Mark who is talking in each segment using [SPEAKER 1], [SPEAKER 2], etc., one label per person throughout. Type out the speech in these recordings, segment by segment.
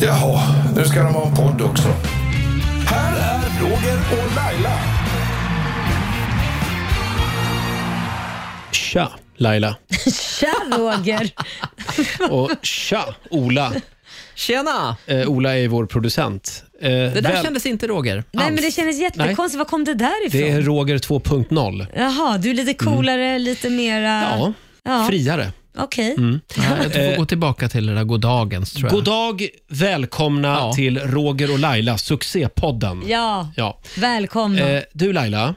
[SPEAKER 1] Jaha, nu ska de ha en podd också. Här är Roger och Laila.
[SPEAKER 2] Tja Laila
[SPEAKER 3] Tja Roger!
[SPEAKER 2] och tja Ola.
[SPEAKER 4] Tjena!
[SPEAKER 2] Eh, Ola är ju vår producent. Eh,
[SPEAKER 4] Det där kändes inte Roger.
[SPEAKER 3] Nej
[SPEAKER 4] alls.
[SPEAKER 3] men det kändes jättekonstigt, var kom det där ifrån?
[SPEAKER 2] det är Roger 2.0.
[SPEAKER 3] Jaha, du är lite coolare, lite mera...
[SPEAKER 2] Ja, Mm.
[SPEAKER 3] Ja,
[SPEAKER 2] friare.
[SPEAKER 3] Okej.
[SPEAKER 4] Ja, jag får gå tillbaka till det där goddagens tror jag.
[SPEAKER 2] God dag, välkomna
[SPEAKER 4] Ja.
[SPEAKER 2] till Roger och Laila, succépodden.
[SPEAKER 3] Ja,
[SPEAKER 2] Ja.
[SPEAKER 3] välkomna.
[SPEAKER 2] Eh, du Laila,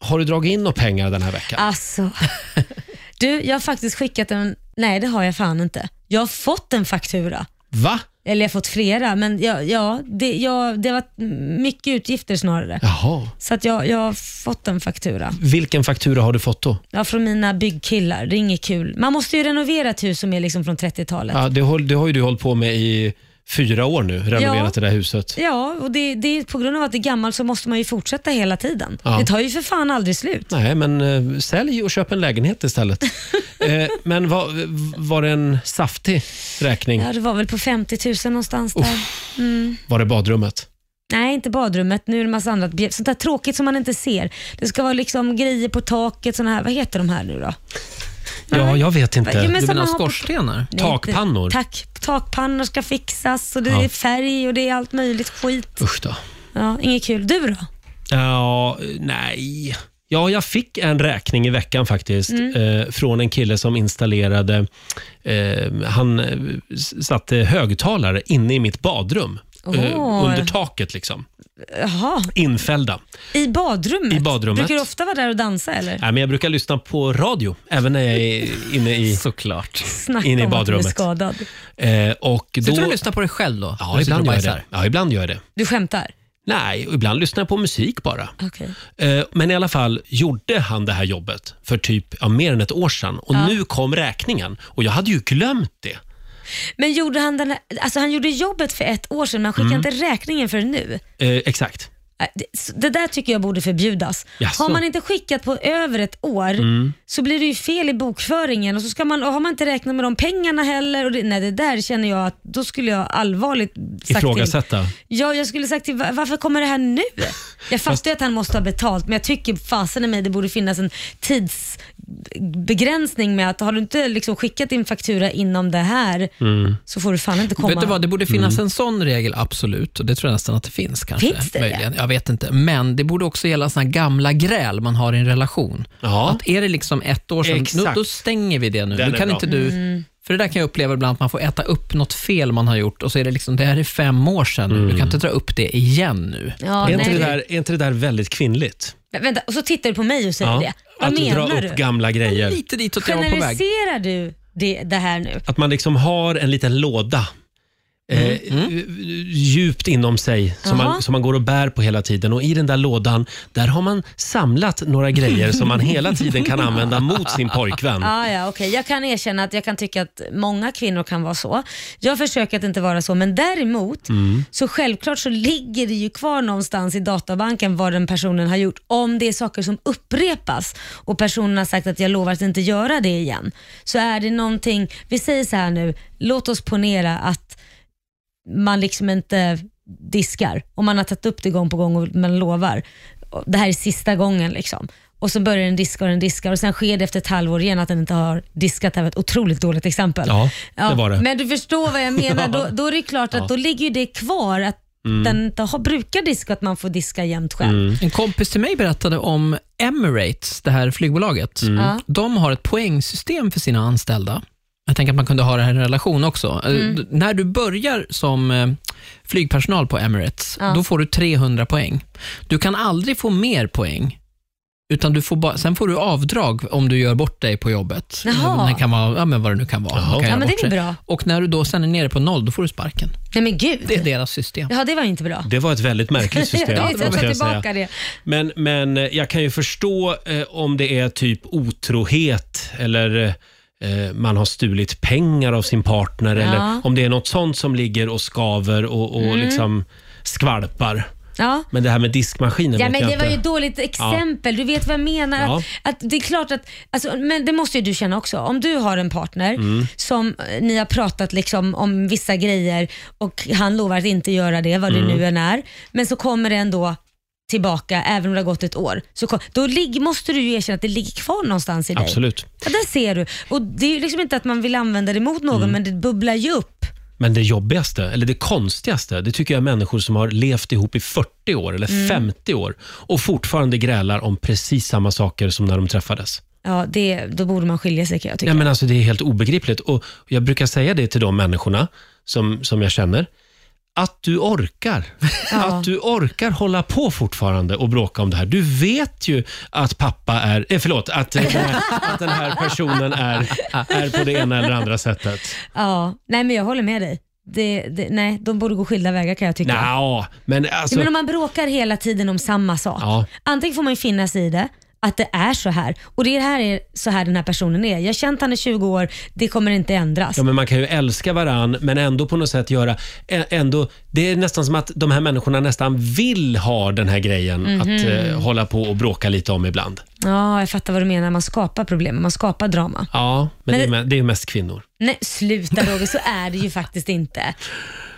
[SPEAKER 2] har du dragit in några pengar den här veckan?
[SPEAKER 3] Alltså. Du, jag har faktiskt skickat en... Nej, det har jag fan inte. Jag har fått en faktura.
[SPEAKER 2] Va?
[SPEAKER 3] Eller jag har fått flera, men ja, ja, det, jag, det har varit mycket utgifter snarare.
[SPEAKER 2] Jaha.
[SPEAKER 3] Så att jag, jag har fått en faktura.
[SPEAKER 2] Vilken faktura har du fått då?
[SPEAKER 3] Ja, från mina byggkillar. Det är inget kul. Man måste ju renovera ett hus som är liksom från 30-talet.
[SPEAKER 2] Ja, det, har, det har ju du hållit på med i fyra år nu, renoverat
[SPEAKER 3] Ja.
[SPEAKER 2] det där huset.
[SPEAKER 3] Ja, och det, det är på grund av att det är gammalt så måste man ju fortsätta hela tiden.
[SPEAKER 2] Ja.
[SPEAKER 3] Det tar ju för fan aldrig slut.
[SPEAKER 2] Nej, men eh, sälj och köp en lägenhet istället. eh, men var, var det en saftig räkning?
[SPEAKER 3] Ja, det var väl på 50 000 någonstans där.
[SPEAKER 2] Var det badrummet?
[SPEAKER 3] Nej, inte badrummet. Nu är det massa annat. bjä- Sånt där tråkigt som man inte ser. Det ska vara liksom grejer på taket, såna här. Vad heter de här nu då?
[SPEAKER 2] Ja, jag vet inte.
[SPEAKER 3] Jo, men
[SPEAKER 4] Du
[SPEAKER 3] som
[SPEAKER 4] menar
[SPEAKER 3] man har på-
[SPEAKER 4] skorstenar?
[SPEAKER 3] Nej, inte-
[SPEAKER 2] Takpannor?
[SPEAKER 3] Tack, takpannor ska fixas och det
[SPEAKER 2] Ja.
[SPEAKER 3] är färg och det är allt möjligt skit.
[SPEAKER 2] Usch då.
[SPEAKER 3] Ja, inget kul. Du då?
[SPEAKER 2] Ja, nej. Ja, jag fick en räkning i veckan faktiskt
[SPEAKER 3] Mm.
[SPEAKER 2] eh, från en kille som installerade... Eh, han eh, s- satte högtalare inne i mitt badrum. Eh,
[SPEAKER 3] Åh.
[SPEAKER 2] under taket liksom.
[SPEAKER 3] Jaha,
[SPEAKER 2] Infällda.
[SPEAKER 3] i badrummet?
[SPEAKER 2] I badrummet.
[SPEAKER 3] Brukar du ofta vara där och dansa eller?
[SPEAKER 2] Nej, men jag brukar lyssna på radio även när jag är inne i...
[SPEAKER 4] Såklart.
[SPEAKER 3] Snacka
[SPEAKER 2] in i
[SPEAKER 3] om
[SPEAKER 2] badrummet.
[SPEAKER 3] att du är skadad.
[SPEAKER 2] Eh, och då,
[SPEAKER 4] Sitter du och lyssnar på dig själv då? När
[SPEAKER 2] Ja,
[SPEAKER 4] du sitter och
[SPEAKER 2] ibland gör jag
[SPEAKER 4] bajsar?
[SPEAKER 2] det. Ja, ibland gör jag det.
[SPEAKER 3] Du skämtar?
[SPEAKER 2] Nej, och ibland lyssnar jag på musik bara.
[SPEAKER 3] Okej.
[SPEAKER 2] Eh, Men i alla fall gjorde han det här jobbet för typ ja, mer än ett år sedan och nu kom räkningen och jag hade ju glömt det.
[SPEAKER 3] Men gjorde han den här, alltså han gjorde jobbet för ett år sedan men han skickade
[SPEAKER 2] Mm.
[SPEAKER 3] inte räkningen för nu.
[SPEAKER 2] Eh, exakt.
[SPEAKER 3] Äh, Det, så det där tycker jag borde förbjudas.
[SPEAKER 2] Jaså? Mm.
[SPEAKER 3] Har man inte skickat på över ett år så blir det ju fel i bokföringen och, så ska man, och har man inte räknat med de pengarna heller. Och det, nej, det där känner jag att då skulle jag allvarligt sagt till.
[SPEAKER 2] Ifrågasätta.
[SPEAKER 3] Ja, jag skulle sagt till, va- varför kommer det här nu? Jag fattar ju att han måste ha betalt men jag tycker fasen i mig det borde finnas en tidsbegränsning med att har du inte liksom skickat din faktura inom det här så får du fan inte komma.
[SPEAKER 4] Vet du vad, det borde finnas
[SPEAKER 2] Mm.
[SPEAKER 4] en sån regel, absolut. Och det tror jag nästan att det finns. kanske.
[SPEAKER 3] Finns det det?
[SPEAKER 4] Möjligen. Jag vet inte. Men det borde också gälla såna här gamla gräl man har i en relation.
[SPEAKER 2] Ja.
[SPEAKER 4] Att är det liksom ett år sedan,
[SPEAKER 2] Exakt.
[SPEAKER 4] nu, då stänger vi det nu.
[SPEAKER 2] Den
[SPEAKER 4] nu
[SPEAKER 2] är
[SPEAKER 4] kan
[SPEAKER 2] bra.
[SPEAKER 4] inte du...
[SPEAKER 3] Mm.
[SPEAKER 4] För det där kan jag uppleva ibland, att man får äta upp något fel man har gjort och så är det liksom, det här är fem år sedan nu,
[SPEAKER 2] Mm.
[SPEAKER 4] du kan inte dra upp det igen nu.
[SPEAKER 3] Ja,
[SPEAKER 2] är, inte
[SPEAKER 3] nej.
[SPEAKER 2] det där, är inte det där väldigt kvinnligt?
[SPEAKER 3] Men Vänta, och så tittar du på mig och säger
[SPEAKER 2] Ja.
[SPEAKER 3] det. Vad
[SPEAKER 2] Att dra
[SPEAKER 3] menar
[SPEAKER 2] upp
[SPEAKER 3] du?
[SPEAKER 2] gamla grejer.
[SPEAKER 4] Lite ditåt jag var på väg.
[SPEAKER 3] Generaliserar du det, det här nu?
[SPEAKER 2] Att man liksom har en liten låda eh, djupt inom sig som
[SPEAKER 3] Mm, Jaha.
[SPEAKER 2] man, som man går och bär på hela tiden. Och I den där lådan där har man samlat några grejer som man hela tiden kan använda mot sin pojkvän.
[SPEAKER 3] Ah, ja, okej. Jag kan erkänna att jag kan tycka att många kvinnor kan vara så. Jag försöker att inte vara så, men däremot så självklart så ligger det ju kvar någonstans i databanken vad den personen har gjort. Om det är saker som upprepas och personen har sagt att jag lovar att inte göra det igen. Så är det någonting, vi säger så här nu, låt oss ponera att man liksom inte diskar och man har tagit upp det gång på gång och man lovar. Och Det här är sista gången liksom. Och så börjar den diska och den diskar och sen sker det efter ett halvår igen att den inte har diskat. Det här var ett otroligt dåligt exempel.
[SPEAKER 2] Ja, det var det.
[SPEAKER 3] Men du förstår vad jag menar. Då, då är det klart att då ligger ju det kvar att
[SPEAKER 2] Mm.
[SPEAKER 3] den inte har, brukar diska och att man får diska jämt själv.
[SPEAKER 4] En kompis till mig berättade om Emirates, det här flygbolaget.
[SPEAKER 3] Ja.
[SPEAKER 4] De har ett poängsystem för sina anställda. Jag tänker att man kunde ha det här i en relation också. Eh,
[SPEAKER 3] Mm.
[SPEAKER 4] d- När du börjar som eh, flygpersonal på Emirates,
[SPEAKER 3] Ja.
[SPEAKER 4] då får du 300 poäng. Du kan aldrig få mer poäng. Utan du får ba- sen får du avdrag om du gör bort dig på jobbet. Eh,
[SPEAKER 3] Jaha.
[SPEAKER 4] Det kan vara, ja, men vad det nu kan vara.
[SPEAKER 2] Jaha.
[SPEAKER 4] Man Kan
[SPEAKER 3] Ja,
[SPEAKER 4] göra
[SPEAKER 3] men det
[SPEAKER 4] bort
[SPEAKER 3] är
[SPEAKER 4] sig.
[SPEAKER 3] bra.
[SPEAKER 4] Och när du då sen är nere på noll, då får du sparken.
[SPEAKER 3] Nej men gud.
[SPEAKER 4] Det är deras system.
[SPEAKER 3] Ja, det var inte bra.
[SPEAKER 2] Det var ett väldigt märkligt system.
[SPEAKER 3] jag tar
[SPEAKER 2] måste jag säga.
[SPEAKER 3] tillbaka det.
[SPEAKER 2] Men, men eh, jag kan ju förstå eh, om det är typ otrohet eller eh, man har stulit pengar av sin
[SPEAKER 3] Mm.
[SPEAKER 2] partner eller om det är något sånt som ligger och skaver och, och liksom skvalpar.
[SPEAKER 3] Ja.
[SPEAKER 2] Men det här med diskmaskinen
[SPEAKER 3] Ja,
[SPEAKER 2] vet
[SPEAKER 3] men
[SPEAKER 2] jag
[SPEAKER 3] det var ju
[SPEAKER 2] inte.
[SPEAKER 3] ett dåligt exempel. Du vet vad jag menar.
[SPEAKER 2] Ja.
[SPEAKER 3] Att, att det är klart att, alltså, men det måste ju du känna också. Om du har en partner
[SPEAKER 2] Mm.
[SPEAKER 3] som eh, ni har pratat liksom om vissa grejer och han lovar att inte göra det, vad
[SPEAKER 2] Mm.
[SPEAKER 3] det nu än är. Men så kommer det ändå tillbaka, även om det har gått ett år. Så, kom- då ligg, måste du ju erkänna att det ligger kvar någonstans i dig.
[SPEAKER 2] Absolut.
[SPEAKER 3] Ja, där ser du. Och Det är ju liksom inte att man vill använda det mot
[SPEAKER 2] Mm.
[SPEAKER 3] någon, men det bubblar ju upp.
[SPEAKER 2] Men det jobbigaste, eller det konstigaste, det tycker jag är människor som har levt ihop i 40 år eller
[SPEAKER 3] Mm.
[SPEAKER 2] 50 år och fortfarande grälar om precis samma saker som när de träffades.
[SPEAKER 3] Ja, det, då borde man skilja sig kan jag tycka.
[SPEAKER 2] Ja, men alltså, det är helt obegripligt. Och jag brukar säga det till de människorna som, som jag känner. Att du orkar.
[SPEAKER 3] Ja.
[SPEAKER 2] Att du orkar hålla på fortfarande och bråka om det här. Du vet ju att pappa är... Eh, förlåt, att, eh, den här, att den här personen är, är på det ena eller andra sättet.
[SPEAKER 3] Ja, nej men jag håller med dig. Det, det, nej, de borde gå skilda vägar kan jag tycka. Ja,
[SPEAKER 2] Nja, men alltså...
[SPEAKER 3] men om man bråkar hela tiden om samma sak.
[SPEAKER 2] Ja.
[SPEAKER 3] Antingen får man ju finna sig i det, att det är så här. Och det här är så här den här personen är. Jag har känt han i 20 år, det kommer inte ändras.
[SPEAKER 2] Ja, men man kan ju älska varann men ändå på något sätt göra... ä- Ändå, det är nästan som att de här människorna nästan vill ha den här grejen
[SPEAKER 3] Mhm.
[SPEAKER 2] att eh, hålla på och bråka lite om ibland.
[SPEAKER 3] Ja, jag fattar vad du menar. Man skapar problem, man skapar drama.
[SPEAKER 2] Ja, men,
[SPEAKER 3] Men-
[SPEAKER 2] det, är, me- det är mest kvinnor.
[SPEAKER 3] Nej, sluta Roger, så är det ju faktiskt inte.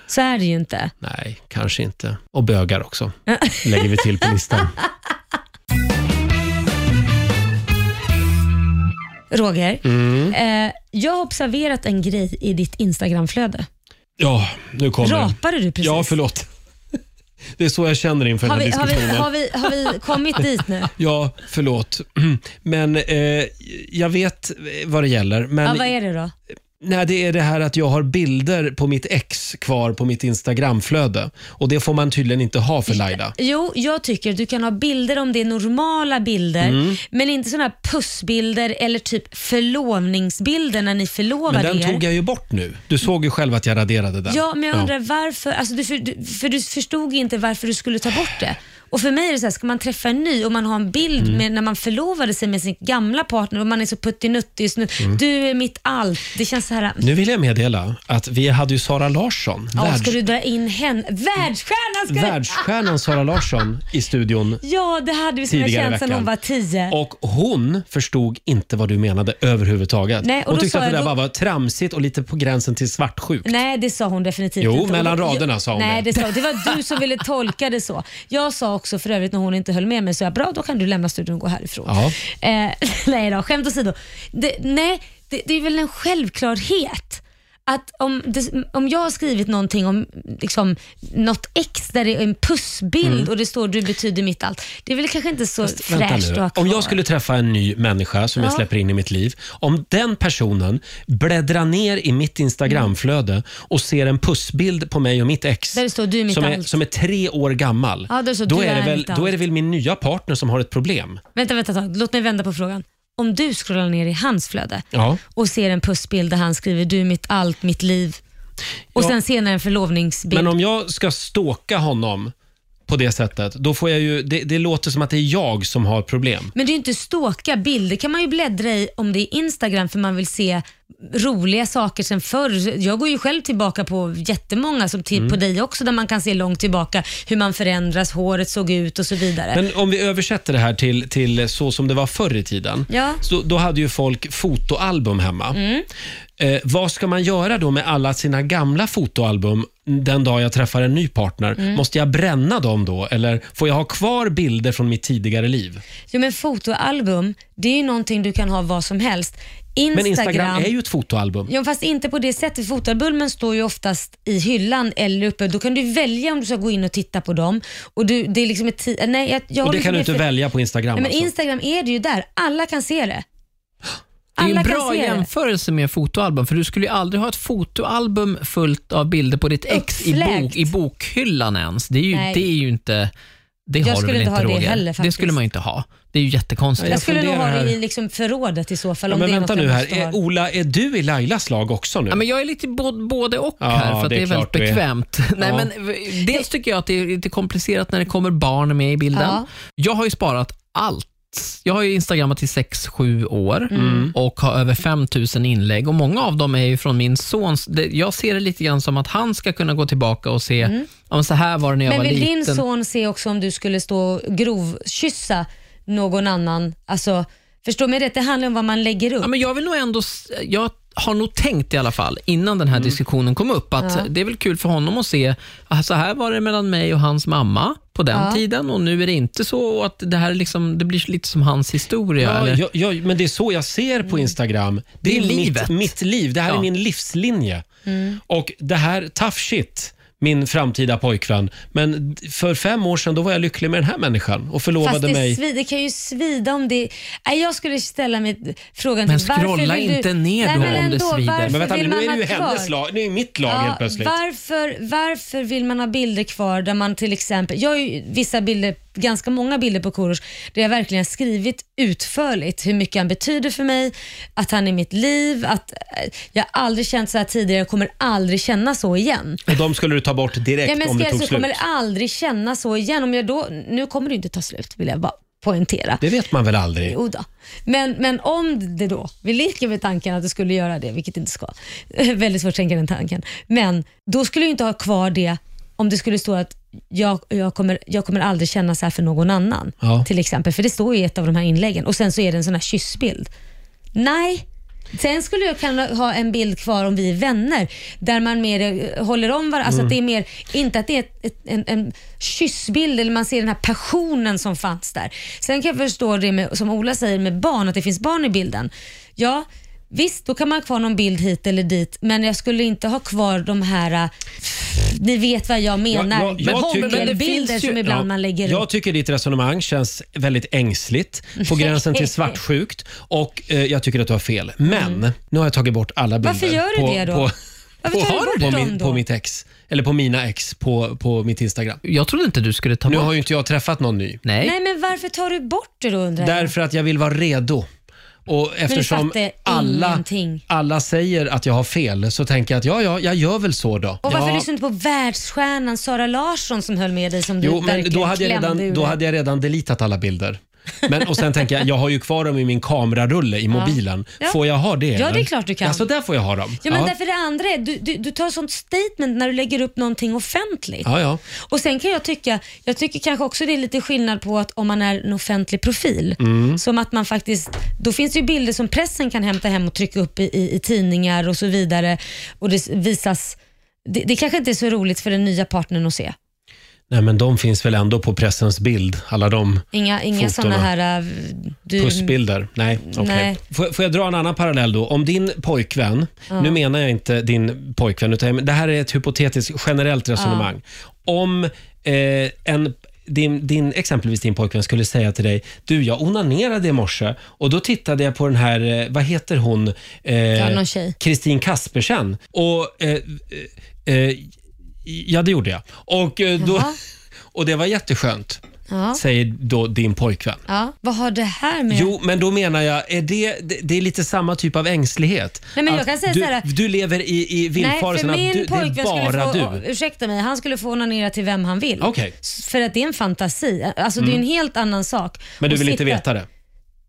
[SPEAKER 3] Så är det ju inte.
[SPEAKER 2] Nej, kanske inte. Och bögar också, lägger vi till på listan.
[SPEAKER 3] Roger,
[SPEAKER 2] Mm.
[SPEAKER 3] eh, jag har observerat en grej i ditt Instagramflöde.
[SPEAKER 2] Ja, nu kommer den.
[SPEAKER 3] Rapade du precis?
[SPEAKER 2] Ja, förlåt. Det är så jag känner inför
[SPEAKER 3] har,
[SPEAKER 2] den här
[SPEAKER 3] vi, har,
[SPEAKER 2] diskussionen.
[SPEAKER 3] vi, har, vi, har vi kommit dit nu?
[SPEAKER 2] Ja, förlåt. Men eh, jag vet vad det gäller. Men
[SPEAKER 3] Ja, vad är det då?
[SPEAKER 2] Nej, det är det här att jag har bilder på mitt ex kvar på mitt Instagramflöde. Och det får man tydligen inte ha för Laila.
[SPEAKER 3] Jo, jag tycker du kan ha bilder om det är normala bilder,
[SPEAKER 2] Mm.
[SPEAKER 3] men inte sådana här pussbilder eller typ förlovningsbilder när ni förlovade
[SPEAKER 2] Men den
[SPEAKER 3] er.
[SPEAKER 2] tog jag ju bort nu. Du såg ju själv att jag raderade den.
[SPEAKER 3] Ja, men jag undrar varför, alltså du, för, du, för du förstod inte varför du skulle ta bort det. Och för mig är det så här, ska man träffa en ny och man har en bild
[SPEAKER 2] Mm.
[SPEAKER 3] med när man förlovade sig med sin gamla partner och man är så puttinuttig just nu. Du är mitt allt. Det känns så här,
[SPEAKER 2] Mm. Nu vill jag meddela att vi hade ju Sara Larsson,
[SPEAKER 3] ja,
[SPEAKER 2] världs-
[SPEAKER 3] ska du dra in henne? Världsstjärnan ska du...
[SPEAKER 2] världsstjärnan Sara Larsson i studion.
[SPEAKER 3] Ja, det hade vi som jag
[SPEAKER 2] Tidigare
[SPEAKER 3] känt sedan
[SPEAKER 2] veckan.
[SPEAKER 3] hon var tio.
[SPEAKER 2] Och hon förstod inte vad du menade överhuvudtaget.
[SPEAKER 3] Nej, och
[SPEAKER 2] hon
[SPEAKER 3] då
[SPEAKER 2] tyckte
[SPEAKER 3] sa
[SPEAKER 2] att det
[SPEAKER 3] jag
[SPEAKER 2] där
[SPEAKER 3] då-
[SPEAKER 2] bara var tramsigt och lite på gränsen till svartsjukt.
[SPEAKER 3] Nej, det sa hon definitivt
[SPEAKER 2] Jo,
[SPEAKER 3] inte. Och-
[SPEAKER 2] mellan raderna sa hon
[SPEAKER 3] Nej,
[SPEAKER 2] det.
[SPEAKER 3] det, sa, det var du som ville tolka det så. Jag sa också för övrigt när hon inte höll med mig, så jag bra då kan du lämna studion och gå härifrån.
[SPEAKER 2] Ja.
[SPEAKER 3] Eh, nej då, skämt åsido. Det, nej, det, det är väl en självklarhet. Att om, det, om jag har skrivit någonting om liksom, något ex där det är en pussbild och det står du betyder mitt allt. Det är väl kanske inte så
[SPEAKER 2] Mm. Vänta
[SPEAKER 3] fräscht att
[SPEAKER 2] nu.
[SPEAKER 3] ha kvar.
[SPEAKER 2] Om jag skulle träffa en ny människa som jag
[SPEAKER 3] Ja.
[SPEAKER 2] släpper in i mitt liv. Om den personen bläddrar ner i mitt Instagramflöde och ser en pussbild på mig och mitt ex
[SPEAKER 3] Mm. Där det står, "Du är mitt
[SPEAKER 2] som, är,
[SPEAKER 3] allt."
[SPEAKER 2] som är tre år gammal.
[SPEAKER 3] Ja, där det står,
[SPEAKER 2] då,
[SPEAKER 3] "Du
[SPEAKER 2] är det
[SPEAKER 3] är
[SPEAKER 2] väl,
[SPEAKER 3] mitt
[SPEAKER 2] då är det
[SPEAKER 3] allt."
[SPEAKER 2] väl min nya partner som har ett problem.
[SPEAKER 3] Vänta, vänta, ett tag. låt mig vända på frågan. Om du scrollar ner i hans flöde
[SPEAKER 2] Ja.
[SPEAKER 3] och ser en pussbild där han skriver du är mitt allt, mitt liv och
[SPEAKER 2] Ja.
[SPEAKER 3] sen senare en förlovningsbild.
[SPEAKER 2] Men om jag ska ståka honom på det sättet, då får jag ju, det, det låter som att det är jag som har problem.
[SPEAKER 3] Men det är ju inte stalka bilder kan man ju bläddra i om det är Instagram för man vill se roliga saker sen förr. Jag går ju själv tillbaka på jättemånga, som
[SPEAKER 2] Mm.
[SPEAKER 3] till, på dig också, där man kan se långt tillbaka hur man förändras, håret såg ut och så vidare.
[SPEAKER 2] Men om vi översätter det här till, till så som det var förr i tiden.
[SPEAKER 3] Ja. Mm.
[SPEAKER 2] Så, då hade ju folk fotoalbum hemma. Eh, vad ska man göra då med alla sina gamla fotoalbum den dag jag träffar en ny partner?
[SPEAKER 3] Mm.
[SPEAKER 2] Måste jag bränna dem då eller får jag ha kvar bilder från mitt tidigare liv?
[SPEAKER 3] jo, men fotoalbum, det är ju någonting du kan ha vad som helst. Instagram,
[SPEAKER 2] Men Instagram är ju ett fotoalbum.
[SPEAKER 3] Ja, fast inte på det sättet. Fotalbulmen står ju oftast i hyllan eller uppe. Då kan du välja om du ska gå in och titta på dem. Och du, det är liksom ett ti- Nej, jag, jag
[SPEAKER 2] Och
[SPEAKER 3] håller
[SPEAKER 2] det kan du
[SPEAKER 3] med
[SPEAKER 2] inte
[SPEAKER 3] för-
[SPEAKER 2] välja på Instagram
[SPEAKER 3] Nej, men
[SPEAKER 2] alltså.
[SPEAKER 3] Instagram är det ju där. Alla kan se det.
[SPEAKER 4] Det är ju
[SPEAKER 3] Alla
[SPEAKER 4] en
[SPEAKER 3] kan
[SPEAKER 4] bra
[SPEAKER 3] se det.
[SPEAKER 4] jämförelse med fotoalbum, för du skulle ju aldrig ha ett fotoalbum fullt av bilder på ditt ex i,
[SPEAKER 3] Uppfläkt.
[SPEAKER 4] bok, i bokhyllan ens. Det är ju,
[SPEAKER 3] Nej.
[SPEAKER 4] det är ju inte... Det har du
[SPEAKER 3] skulle
[SPEAKER 4] väl
[SPEAKER 3] inte
[SPEAKER 4] inte,
[SPEAKER 3] ha det
[SPEAKER 4] Roger?
[SPEAKER 3] heller,
[SPEAKER 4] det
[SPEAKER 3] faktiskt.
[SPEAKER 4] skulle man ju inte ha. Det är ju jättekonstigt.
[SPEAKER 2] Jag
[SPEAKER 3] Jag skulle nog ha
[SPEAKER 2] funderar
[SPEAKER 3] det
[SPEAKER 2] här.
[SPEAKER 3] i liksom förrådet i så fall.
[SPEAKER 2] Ja,
[SPEAKER 3] om
[SPEAKER 2] men
[SPEAKER 3] det är
[SPEAKER 2] vänta
[SPEAKER 3] något
[SPEAKER 2] nu
[SPEAKER 3] jag
[SPEAKER 2] här.
[SPEAKER 3] måste ha.
[SPEAKER 2] Är, Ola, är du i Lailas lag också nu?
[SPEAKER 4] Ja, men jag är lite både, både och
[SPEAKER 2] Ja,
[SPEAKER 4] här, för att
[SPEAKER 2] det
[SPEAKER 4] det
[SPEAKER 2] är
[SPEAKER 4] är, väldigt
[SPEAKER 2] klart du är.
[SPEAKER 4] bekvämt. Nej,
[SPEAKER 2] Ja.
[SPEAKER 4] men, v- dels tycker jag att det är lite komplicerat när det kommer barn med i bilden.
[SPEAKER 3] Ja.
[SPEAKER 4] Jag har ju sparat allt jag har ju instagrammat i 6-7 år
[SPEAKER 3] Mm.
[SPEAKER 4] och har över 5 000 inlägg. Och Många av dem är ju från min sons... det- Jag ser det lite grann som att han ska kunna gå tillbaka och se, ja, men så här var det när jag
[SPEAKER 3] Mm. Men
[SPEAKER 4] var
[SPEAKER 3] vill
[SPEAKER 4] liten.
[SPEAKER 3] din son se också om du skulle stå och grovkyssa någon annan? Alltså, förstår mig rätt, det handlar om vad man lägger upp.
[SPEAKER 4] Ja, men jag vill nog ändå, s- jag har nog tänkt i alla fall, innan den här
[SPEAKER 2] Mm.
[SPEAKER 4] diskussionen kom upp, att det är väl kul för honom att se, ah, så här var det mellan mig och hans mamma på den tiden och nu är det inte så och att det här är liksom, det blir lite som hans historia.
[SPEAKER 2] Ja,
[SPEAKER 4] eller?
[SPEAKER 2] jag, jag, men det är så jag ser
[SPEAKER 3] Mm.
[SPEAKER 2] på Instagram. Det,
[SPEAKER 4] Det är
[SPEAKER 2] är,
[SPEAKER 4] livet.
[SPEAKER 2] mitt, mitt liv. Det här
[SPEAKER 4] Ja.
[SPEAKER 2] är min livslinje.
[SPEAKER 3] Mm.
[SPEAKER 2] Och det här, tough shit, min framtida pojkvän. Men d- för fem år sedan då var jag lycklig med den här människan och
[SPEAKER 3] Fast
[SPEAKER 2] förlovade
[SPEAKER 3] det,
[SPEAKER 2] mig.
[SPEAKER 3] svi, det kan ju svida om det... Nej, jag skulle ställa mig frågan...
[SPEAKER 4] Men
[SPEAKER 3] till- varför
[SPEAKER 4] scrolla
[SPEAKER 3] vill du...
[SPEAKER 4] inte ner
[SPEAKER 3] Nej,
[SPEAKER 4] då
[SPEAKER 3] men
[SPEAKER 4] om det
[SPEAKER 3] ändå,
[SPEAKER 4] svider.
[SPEAKER 3] varför
[SPEAKER 2] Men vänta nu,
[SPEAKER 3] vill
[SPEAKER 2] nu
[SPEAKER 3] man
[SPEAKER 2] är det ju
[SPEAKER 3] ha kvar?
[SPEAKER 2] hennes lag. Nu är det mitt lag helt plötsligt.
[SPEAKER 3] Varför, varför vill man ha bilder kvar där man till exempel, jag har ju vissa bilder, ganska många bilder på Korosh där jag verkligen har skrivit utförligt hur mycket han betyder för mig, att han är mitt liv, att eh, jag har aldrig känt så här tidigare, jag kommer aldrig känna så igen.
[SPEAKER 2] Och de skulle du ta bort direkt
[SPEAKER 3] Ja, men
[SPEAKER 2] om det
[SPEAKER 3] ska alltså, jag,
[SPEAKER 2] tog
[SPEAKER 3] så
[SPEAKER 2] slut.
[SPEAKER 3] kommer jag aldrig känna så igen. Om jag då, nu kommer det ju inte ta slut vill jag bara poängtera.
[SPEAKER 2] Det vet man väl aldrig?
[SPEAKER 3] Jo då. Men, men om det då, vi leker med tanken att det skulle göra det, vilket det inte ska. Väldigt svårt att tänka den tanken. Men då skulle jag ju inte ha kvar det om det skulle stå att jag, jag, kommer, jag kommer aldrig känna så här för någon annan.
[SPEAKER 2] Ja.
[SPEAKER 3] Till exempel, för det står ju i ett av de här inläggen. Och sen så är det en sån här kyssbild. Nej. Sen skulle jag kunna ha en bild kvar om vi är vänner där man mer eh, håller om varandra. Alltså att
[SPEAKER 2] Mm.
[SPEAKER 3] det är mer, inte att det är ett, ett, en, en kyssbild eller man ser den här passionen som fanns där. Sen kan jag förstå det med, som Ola säger med barn, att det finns barn i bilden. Ja, visst då kan man ha kvar någon bild hit eller dit men jag skulle inte ha kvar de här, eh, ni vet vad jag menar,
[SPEAKER 2] Ja, ja, jag tycker-
[SPEAKER 4] Men det
[SPEAKER 3] hångelbilder
[SPEAKER 4] finns ju-
[SPEAKER 3] som ibland
[SPEAKER 2] Ja,
[SPEAKER 3] man lägger
[SPEAKER 2] jag
[SPEAKER 3] upp.
[SPEAKER 2] tycker ditt resonemang känns väldigt ängsligt, på gränsen till svartsjukt och eh, jag tycker att du har fel. Men nu har jag tagit bort alla bilder.
[SPEAKER 3] Mm. Varför gör du
[SPEAKER 2] på,
[SPEAKER 3] det då?
[SPEAKER 2] På,
[SPEAKER 3] Varför tar
[SPEAKER 2] på,
[SPEAKER 3] du bort
[SPEAKER 2] på,
[SPEAKER 3] dem
[SPEAKER 2] min,
[SPEAKER 3] då?
[SPEAKER 2] på mitt ex, eller på mina ex på, på mitt Instagram.
[SPEAKER 4] Jag trodde inte du skulle ta
[SPEAKER 2] Nu
[SPEAKER 4] bort...
[SPEAKER 2] har ju inte jag träffat någon ny.
[SPEAKER 4] Nej.
[SPEAKER 3] Nej men varför tar du bort det då undrar jag?
[SPEAKER 2] Därför att jag vill vara redo. Och eftersom
[SPEAKER 3] fattar
[SPEAKER 2] alla,
[SPEAKER 3] ingenting.
[SPEAKER 2] alla säger att jag har fel så tänker jag att ja, ja, jag gör väl så då.
[SPEAKER 3] Och varför
[SPEAKER 4] Ja.
[SPEAKER 3] lyssnar du inte på världsstjärnan Sara Larsson som höll med dig som du
[SPEAKER 2] Jo, men
[SPEAKER 3] verkligen
[SPEAKER 2] då hade, jag
[SPEAKER 3] klämde
[SPEAKER 2] redan,
[SPEAKER 3] ur
[SPEAKER 2] då
[SPEAKER 3] dig?
[SPEAKER 2] hade jag redan deletat alla bilder. Men, och sen tänker jag, jag har ju kvar dem i min kamerarulle i mobilen.
[SPEAKER 3] Ja.
[SPEAKER 2] Får jag ha det?
[SPEAKER 3] Ja, det är
[SPEAKER 2] eller?
[SPEAKER 3] klart du kan.
[SPEAKER 2] Ja, så där får jag ha dem.
[SPEAKER 3] Ja, men
[SPEAKER 2] ja.
[SPEAKER 3] därför det andra är, du, du, du tar sånt statement när du lägger upp någonting offentligt.
[SPEAKER 2] ja, ja.
[SPEAKER 3] Och sen kan jag tycka, jag tycker kanske också det är lite skillnad på att om man är en offentlig profil,
[SPEAKER 2] Mm.
[SPEAKER 3] som att man faktiskt, då finns det ju bilder som pressen kan hämta hem och trycka upp i, i, i tidningar och så vidare och det s- visas, det, det kanske inte är så roligt för den nya partnern att se.
[SPEAKER 2] Nej, men de finns väl ändå på pressens bild, alla de
[SPEAKER 3] Inga, inga
[SPEAKER 2] Fotona.
[SPEAKER 3] sådana här... äh, Du,
[SPEAKER 2] pussbilder. Nej, okej.
[SPEAKER 3] Nej.
[SPEAKER 2] Får, får jag dra en annan parallell då? Om din pojkvän, nu menar jag inte din pojkvän, utan det här är ett hypotetiskt generellt resonemang. Om eh, en din, din, exempelvis din pojkvän skulle säga till dig, du jag onanerade i morse och då tittade jag på den här, eh, vad heter hon? Eh,
[SPEAKER 3] någon tjej.
[SPEAKER 2] Kristin Kaspersen. Och, eh, eh, eh, ja, det gjorde jag. Och, eh, då,
[SPEAKER 3] Jaha.
[SPEAKER 2] och det var jätteskönt,
[SPEAKER 3] Ja.
[SPEAKER 2] säger då din pojkvän.
[SPEAKER 3] Ja, vad har det här med...
[SPEAKER 2] Jo, men då menar jag, är det, det, det är lite samma typ av ängslighet.
[SPEAKER 3] Nej, men jag
[SPEAKER 2] Att
[SPEAKER 3] kan säga
[SPEAKER 2] du,
[SPEAKER 3] så här-
[SPEAKER 2] du lever i, i
[SPEAKER 3] Nej, för
[SPEAKER 2] villfarelsen att
[SPEAKER 3] min
[SPEAKER 2] du, det är
[SPEAKER 3] pojkvän skulle
[SPEAKER 2] bara
[SPEAKER 3] få,
[SPEAKER 2] du.
[SPEAKER 3] å- ursäkta mig, han skulle få onanera till vem han vill.
[SPEAKER 2] Okej. Mm.
[SPEAKER 3] S- För att det är en fantasi. Alltså det är en helt annan sak.
[SPEAKER 2] Men du
[SPEAKER 3] att
[SPEAKER 2] vill inte
[SPEAKER 3] sitta-
[SPEAKER 2] veta det?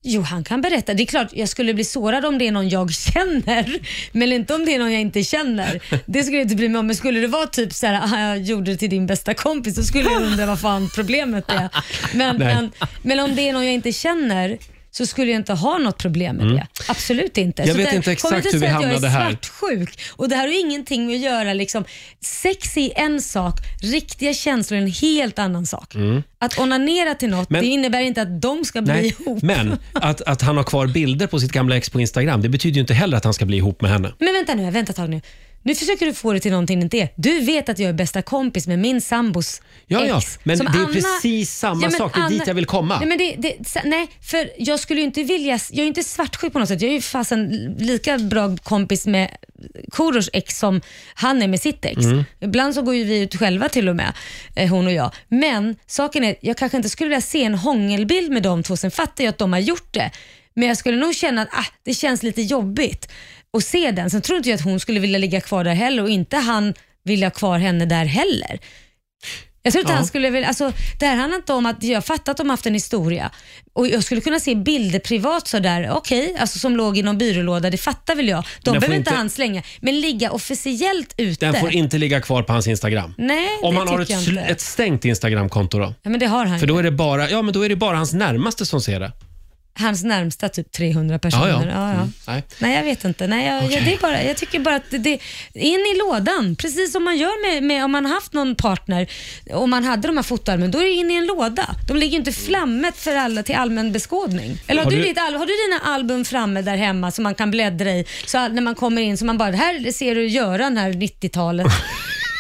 [SPEAKER 3] Jo, han kan berätta. Det är klart, jag skulle bli sårad om det är någon jag känner, men inte om det är någon jag inte känner. Det skulle jag inte bry mig om. Men skulle det vara typ så här, "Ah, jag gjorde det till din bästa kompis, då skulle jag undra vad fan problemet är. Men,
[SPEAKER 2] Nej.
[SPEAKER 3] men, men om det är någon jag inte känner, så skulle jag inte ha något problem med det. Absolut inte.
[SPEAKER 2] Mm. Jag
[SPEAKER 3] så
[SPEAKER 2] vet
[SPEAKER 3] där-
[SPEAKER 2] inte
[SPEAKER 3] kom
[SPEAKER 2] exakt hur vi
[SPEAKER 3] säga att
[SPEAKER 2] hamnade
[SPEAKER 3] jag är
[SPEAKER 2] här.
[SPEAKER 3] svartsjuk. Och det här har ju ingenting med att göra. Liksom, sex är en sak, riktiga känslor är en helt annan sak. Att onanera till något,
[SPEAKER 2] Mm. Men-
[SPEAKER 3] det innebär inte att de ska bli
[SPEAKER 2] Nej.
[SPEAKER 3] ihop.
[SPEAKER 2] Men att, att han har kvar bilder på sitt gamla ex på Instagram, det betyder ju inte heller att han ska bli ihop med henne.
[SPEAKER 3] Men vänta nu, vänta ett tag nu. Nu försöker du få det till någonting det inte är. Du vet att jag är bästa kompis med min sambos
[SPEAKER 2] Ja,
[SPEAKER 3] ex.
[SPEAKER 2] ja, men
[SPEAKER 3] Som
[SPEAKER 2] det är precis samma
[SPEAKER 3] men
[SPEAKER 2] sak. Det är dit jag vill komma.
[SPEAKER 3] Nej, men det, det, sa- nej, för jag skulle ju inte vilja... Jag är ju inte svartsjuk på något sätt. Jag är ju fasen lika bra kompis med Korosh ex som han är med sitt ex. Ibland så går ju vi ut själva till och med, eh, hon och jag. Men saken är, jag kanske inte skulle vilja se en hångelbild med de två. Sen fattar jag att de har gjort det. Men jag skulle nog känna att ah, det känns lite jobbigt att se den. Sen tror inte jag att hon skulle vilja ligga kvar där heller och inte han vilja ha kvar henne där heller. Jag tror inte
[SPEAKER 4] Ja.
[SPEAKER 3] han skulle vilja, alltså, det här handlar inte om att, jag fattar att de haft en historia och jag skulle kunna se bilder privat sådär, okej, alltså som låg i någon byrålåda, det fattar väl jag. De
[SPEAKER 2] den får
[SPEAKER 3] behöver inte
[SPEAKER 2] inte-
[SPEAKER 3] han slänga, men ligga officiellt ute.
[SPEAKER 2] Den får inte ligga kvar på hans Instagram.
[SPEAKER 3] Nej,
[SPEAKER 2] Om
[SPEAKER 3] det
[SPEAKER 2] han har ett,
[SPEAKER 3] tycker jag
[SPEAKER 2] sl-
[SPEAKER 3] inte.
[SPEAKER 2] ett stängt Instagramkonto då?
[SPEAKER 3] Ja, men det har han.
[SPEAKER 2] För
[SPEAKER 3] ju.
[SPEAKER 2] då är, det bara, ja, men då är det bara hans närmaste som ser det.
[SPEAKER 3] Hans närmsta typ 300
[SPEAKER 2] Ja,
[SPEAKER 3] personer.
[SPEAKER 2] ja.
[SPEAKER 3] Ja, ja.
[SPEAKER 2] Mm, nej.
[SPEAKER 3] Nej, jag vet inte. Nej, jag, jag, det är bara, jag tycker bara att det, det in i lådan. Precis som man gör med, med om man haft någon partner och man hade de här fotoalbumen, då är det in i en låda. De ligger ju inte flammet för alla till allmän beskådning. Eller har,
[SPEAKER 2] Har
[SPEAKER 3] du,
[SPEAKER 2] du-
[SPEAKER 3] ditt, al- har du dina album framme där hemma som man kan bläddra i? Så all- när man kommer in så man bara, här ser du Göran här 90-talet.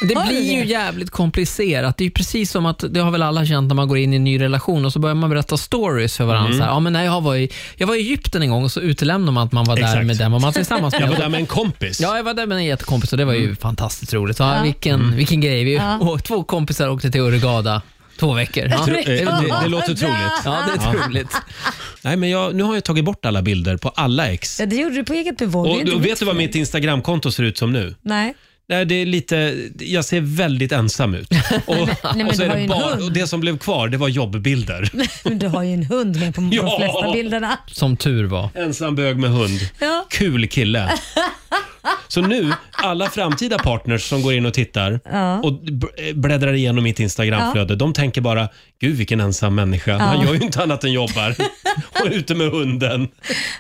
[SPEAKER 4] Det
[SPEAKER 3] Har du
[SPEAKER 4] blir ju
[SPEAKER 3] det?
[SPEAKER 4] jävligt komplicerat. Det är ju precis som att, det har väl alla känt när man går in i en ny relation och så börjar man berätta stories för varandra.
[SPEAKER 2] Mm.
[SPEAKER 4] Så här, ja, men nej, jag, var i, jag var i Egypten en gång och så utelämnar man att man var där
[SPEAKER 2] Exakt.
[SPEAKER 4] med den man var tillsammans
[SPEAKER 2] Jag var
[SPEAKER 4] med.
[SPEAKER 2] där med en kompis.
[SPEAKER 4] Ja, jag var där med en jättekompis och det var ju fantastiskt roligt. Ja, Vilken, vilken grej. Vi, och två kompisar åkte till Hurghada två veckor. Ja,
[SPEAKER 2] Tro- eh,
[SPEAKER 4] det, var-
[SPEAKER 2] det, det låter troligt.
[SPEAKER 4] ja, det är troligt.
[SPEAKER 2] Nej, men jag, nu har jag tagit bort alla bilder på alla ex.
[SPEAKER 3] Ja, det gjorde du på eget bevåg. Det är
[SPEAKER 2] Och,
[SPEAKER 3] inte
[SPEAKER 2] och
[SPEAKER 3] mitt
[SPEAKER 2] vet du vad
[SPEAKER 3] fel.
[SPEAKER 2] mitt Instagramkonto ser ut som nu?
[SPEAKER 3] Nej.
[SPEAKER 2] Nej, det är lite, jag ser väldigt ensam ut. Och,
[SPEAKER 3] men
[SPEAKER 2] och, så
[SPEAKER 3] du
[SPEAKER 2] är det
[SPEAKER 3] har ju en
[SPEAKER 2] bara,
[SPEAKER 3] hund.
[SPEAKER 2] och det som blev kvar det var jobbbilder.
[SPEAKER 3] Men du har ju en hund med på de
[SPEAKER 2] Ja.
[SPEAKER 3] flesta bilderna.
[SPEAKER 4] Som tur var.
[SPEAKER 2] Ensam bög med hund.
[SPEAKER 3] Ja.
[SPEAKER 2] Kul kille. Så nu, alla framtida partners som går in och tittar och b- bläddrar igenom mitt Instagramflöde, de tänker bara “Gud vilken ensam människa, han gör ju inte annat än jobbar och är ute med hunden”.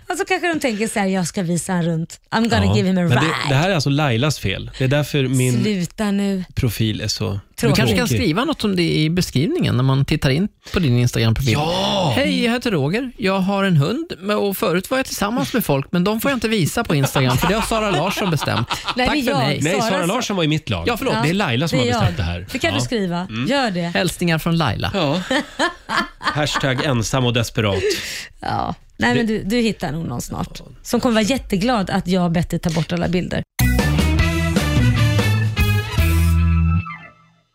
[SPEAKER 3] Och så kanske de tänker så här, jag ska visa han runt. I'm gonna
[SPEAKER 2] Ja.
[SPEAKER 3] give him a
[SPEAKER 2] Men
[SPEAKER 3] ride.
[SPEAKER 2] det, det här är alltså Lailas fel. Det är därför min
[SPEAKER 3] Sluta nu.
[SPEAKER 2] profil är så
[SPEAKER 4] Du
[SPEAKER 3] Tråkigt.
[SPEAKER 4] kanske kan
[SPEAKER 2] Tråkig.
[SPEAKER 4] skriva något om det i beskrivningen när man tittar in på din Instagram-profil.
[SPEAKER 2] Ja!
[SPEAKER 4] Hej, jag heter Roger. Jag har en hund men- och förut var jag tillsammans med folk, men de får jag inte visa på Instagram för det har Sara Larsson bestämt.
[SPEAKER 3] Nej,
[SPEAKER 4] Tack
[SPEAKER 3] det är
[SPEAKER 4] för
[SPEAKER 3] jag.
[SPEAKER 4] mig.
[SPEAKER 2] Nej, Sara
[SPEAKER 3] Sara-
[SPEAKER 2] Larsson var i mitt lag.
[SPEAKER 4] Ja, förlåt.
[SPEAKER 2] Det är Laila som
[SPEAKER 3] Det
[SPEAKER 2] har
[SPEAKER 3] är
[SPEAKER 2] bestämt
[SPEAKER 3] jag.
[SPEAKER 2] det här.
[SPEAKER 3] Det
[SPEAKER 2] ja.
[SPEAKER 3] kan
[SPEAKER 2] Mm.
[SPEAKER 3] du skriva. Gör det.
[SPEAKER 4] Hälsningar från Laila.
[SPEAKER 2] Ja. Hashtag ensam och desperat.
[SPEAKER 3] Ja. Nej, men du, du hittar nog någon snart som kommer vara jätteglad att jag har bett dig ta bort alla bilder.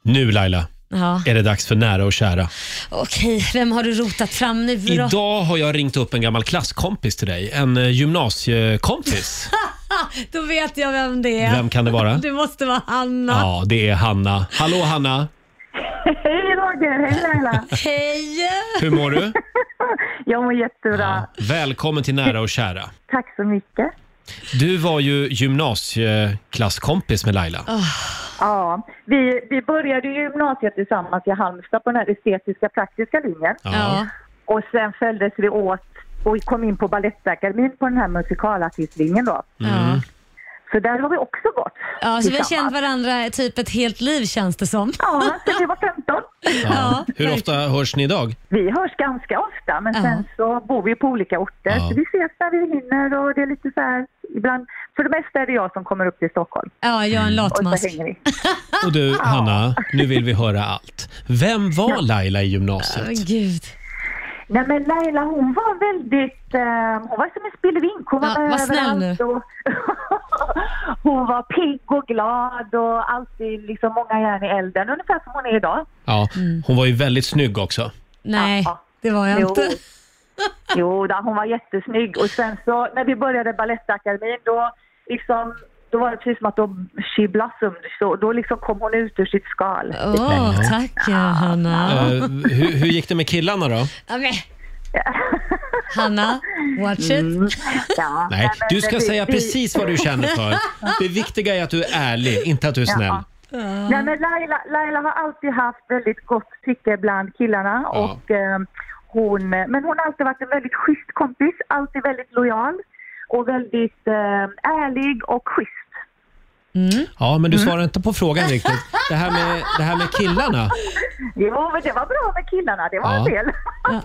[SPEAKER 2] Nu Laila,
[SPEAKER 3] Ja.
[SPEAKER 2] är det dags för nära och kära.
[SPEAKER 3] Okej, vem har du rotat fram nu för då?
[SPEAKER 2] Idag har jag ringt upp en gammal klasskompis till dig. En eh, gymnasiekompis.
[SPEAKER 3] Då vet jag vem det är.
[SPEAKER 2] Vem kan det vara?
[SPEAKER 3] Det måste vara Hanna.
[SPEAKER 2] Ja, det är Hanna. Hallå Hanna,
[SPEAKER 5] Hej Roger, hej Laila.
[SPEAKER 3] Hej!
[SPEAKER 2] hur mår du?
[SPEAKER 5] Jag mår jättebra.
[SPEAKER 2] Välkommen till nära och kära.
[SPEAKER 5] Tack så mycket.
[SPEAKER 2] Du var ju gymnasieklasskompis med Laila.
[SPEAKER 3] Ah.
[SPEAKER 5] Ja, vi, vi började ju gymnasiet tillsammans i Halmstad på den här estetiska praktiska linjen.
[SPEAKER 3] Ja.
[SPEAKER 5] Och sen följdes vi åt och kom in på Balettakademin på den här musikalartistlinjen då.
[SPEAKER 2] Mm.
[SPEAKER 3] Ja.
[SPEAKER 5] Så där har vi också gått
[SPEAKER 3] ja, så vi har
[SPEAKER 5] tillsammans.
[SPEAKER 3] känt varandra typ ett helt liv känns det som.
[SPEAKER 5] Ja, sen vi var 15.
[SPEAKER 2] Ja. Hur
[SPEAKER 3] verkligen.
[SPEAKER 2] ofta hörs ni idag?
[SPEAKER 5] Vi hörs ganska ofta men
[SPEAKER 3] Ja.
[SPEAKER 5] sen så bor vi på olika orter.
[SPEAKER 2] Ja.
[SPEAKER 5] Så vi ses när vi hinner och det är lite så här ibland. För det mesta är det jag som kommer upp till Stockholm
[SPEAKER 3] Ja, jag är en
[SPEAKER 5] och så
[SPEAKER 3] latmask.
[SPEAKER 5] hänger vi.
[SPEAKER 2] Och du Hanna, nu vill vi höra allt. Vem var Laila i gymnasiet?
[SPEAKER 3] Men Gud.
[SPEAKER 5] Nej men Laila hon var väldigt, eh, hon var som en spillevink. Hon var
[SPEAKER 3] Ja,
[SPEAKER 5] med
[SPEAKER 3] var snäll
[SPEAKER 5] överallt
[SPEAKER 3] nu.
[SPEAKER 5] och hon var pigg och glad och alltid liksom många järn i elden. Ungefär som hon är idag.
[SPEAKER 3] Ah.
[SPEAKER 2] Ja, hon var ju väldigt snygg också.
[SPEAKER 3] Nej,
[SPEAKER 5] Ja.
[SPEAKER 3] det var jag inte.
[SPEAKER 5] jo då, hon var jättesnygg och sen så när vi började Balettakademin då liksom då var det precis som att de, she blossomed, så då liksom kom hon ut ur sitt skal.
[SPEAKER 3] Åh, tack ja, Hanna.
[SPEAKER 2] Eh, hur, hur gick det med killarna då?
[SPEAKER 3] Ja, men. Hanna, watch it.
[SPEAKER 5] Mm. Ja,
[SPEAKER 2] Nej,
[SPEAKER 5] men
[SPEAKER 2] du ska
[SPEAKER 5] vi-
[SPEAKER 2] säga
[SPEAKER 5] vi-
[SPEAKER 2] precis vad du känner för. Det viktiga är att du är ärlig, inte att du är snäll. Mm.
[SPEAKER 5] Nej, men Laila, Laila har alltid haft väldigt gott tycke bland killarna.
[SPEAKER 2] Ja.
[SPEAKER 5] Och, eh, hon, men hon har alltid varit en väldigt schysst kompis, alltid väldigt lojal och väldigt eh, ärlig och schysst.
[SPEAKER 2] Ja, men du svarar inte på frågan riktigt. Det här med, det här med killarna,
[SPEAKER 5] Det var, det var bra med killarna, det var
[SPEAKER 2] Ja.
[SPEAKER 5] en del.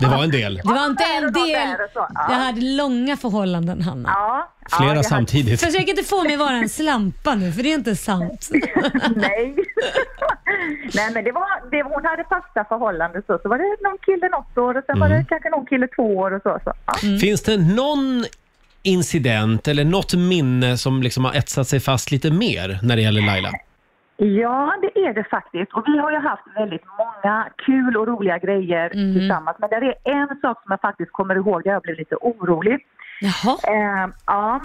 [SPEAKER 2] det var en del.
[SPEAKER 3] Det var inte
[SPEAKER 5] Där
[SPEAKER 3] en
[SPEAKER 5] och då,
[SPEAKER 3] del.
[SPEAKER 5] där och så. Ja.
[SPEAKER 3] Jag hade långa förhållanden, Hanna.
[SPEAKER 5] Ja, ja,
[SPEAKER 2] Flera
[SPEAKER 5] det hade-
[SPEAKER 2] samtidigt.
[SPEAKER 3] Försök inte få mig vara en slampa nu, för det är inte sant.
[SPEAKER 5] Nej. Nej, men det var, det, hon hade fasta förhållanden så. Så var det någon kille något år och sen
[SPEAKER 2] Mm.
[SPEAKER 5] var det kanske någon kille två år och så. så. Ja.
[SPEAKER 2] Finns det någon incident eller något minne som liksom har etsat sig fast lite mer när det gäller Laila?
[SPEAKER 5] Ja, det är det faktiskt. Och vi har ju haft väldigt många kul och roliga grejer tillsammans. Men det är en sak som jag faktiskt kommer ihåg där jag blev lite orolig.
[SPEAKER 3] Jaha,
[SPEAKER 5] Eh, ja,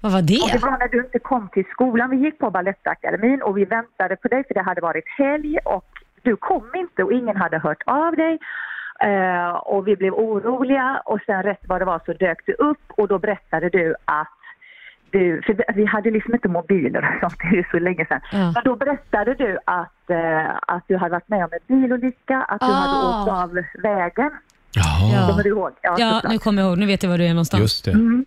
[SPEAKER 3] vad var
[SPEAKER 5] och det
[SPEAKER 3] det?
[SPEAKER 5] var när du inte kom till skolan. Vi gick på Balettakademin och vi väntade på dig för det hade varit helg och du kom inte och ingen hade hört av dig. Eh, och vi blev oroliga och sen rätt vad det var så dök du upp och då berättade du att du, för vi- vi hade liksom inte mobiler och sånt, det är ju så länge sedan.
[SPEAKER 3] Ja.
[SPEAKER 5] Men då berättade du att, eh, att du hade varit med om en bilolycka, att du
[SPEAKER 3] Ah.
[SPEAKER 5] hade åkt av vägen.
[SPEAKER 2] Jaha,
[SPEAKER 3] Ja.
[SPEAKER 5] Kommer du ihåg?
[SPEAKER 3] Ja,
[SPEAKER 5] såklart.
[SPEAKER 3] nu kommer jag ihåg. Nu vet jag var du är någonstans.
[SPEAKER 2] just det.
[SPEAKER 5] Mm.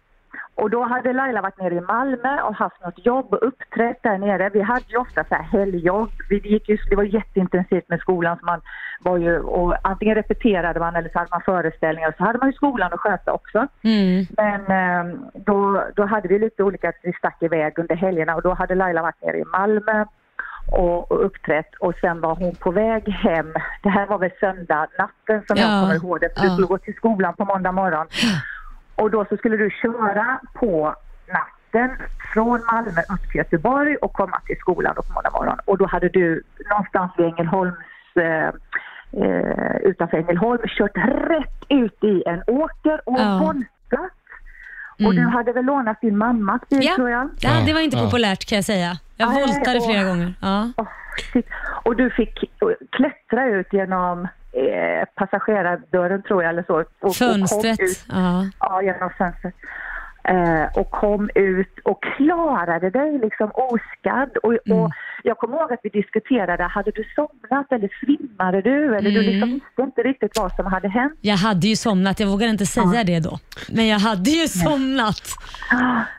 [SPEAKER 5] Och då hade Laila varit nere i Malmö och haft något jobb och uppträtt där nere. Vi hade ju ofta så här helgjobb. Vi gick ju, det var jätteintensivt med skolan. Så man var ju, och antingen repeterade man eller så hade man föreställningar. Så hade man ju skolan att sköta också.
[SPEAKER 3] Mm.
[SPEAKER 5] Men eh, då, då hade vi lite olika, vi stack iväg under helgerna och då hade Laila varit nere i Malmö och, och uppträtt och sen var hon på väg hem. Det här var väl söndag natten
[SPEAKER 3] Ja.
[SPEAKER 5] som jag kommer ihåg det, för
[SPEAKER 3] Ja.
[SPEAKER 5] du skulle gå till skolan på måndag morgon. Och då så skulle du köra på natten från Malmö upp till Göteborg och komma till skolan då på måndag morgon. Och då hade du någonstans vid Ängelholms eh, eh, utanför Ängelholm kört rätt ut i en åker och
[SPEAKER 3] Ja.
[SPEAKER 5] en våndsplats. Och du hade väl lånat din mammas bil
[SPEAKER 3] Mm. Ja.
[SPEAKER 5] tror jag?
[SPEAKER 3] ja, det var inte
[SPEAKER 2] Ja.
[SPEAKER 3] populärt kan jag säga. Jag
[SPEAKER 5] Nej,
[SPEAKER 3] voltade
[SPEAKER 5] åh.
[SPEAKER 3] flera gånger. Ja.
[SPEAKER 5] Åh, shit. och du fick eh, klättra ut genom eh, passagerardörren tror jag eller så. Och, Och
[SPEAKER 3] Fönstret.
[SPEAKER 5] kom ut,
[SPEAKER 3] Ja.
[SPEAKER 5] ja, genom fönstret. Eh, och kom ut och klarade dig liksom oskadd. Och,
[SPEAKER 3] Mm.
[SPEAKER 5] och jag kommer ihåg att vi diskuterade, hade du somnat eller svimmade du? Eller
[SPEAKER 3] Mm.
[SPEAKER 5] du liksom visste inte riktigt vad som hade hänt.
[SPEAKER 3] Jag hade ju somnat, jag vågar inte säga det då. Men jag hade ju somnat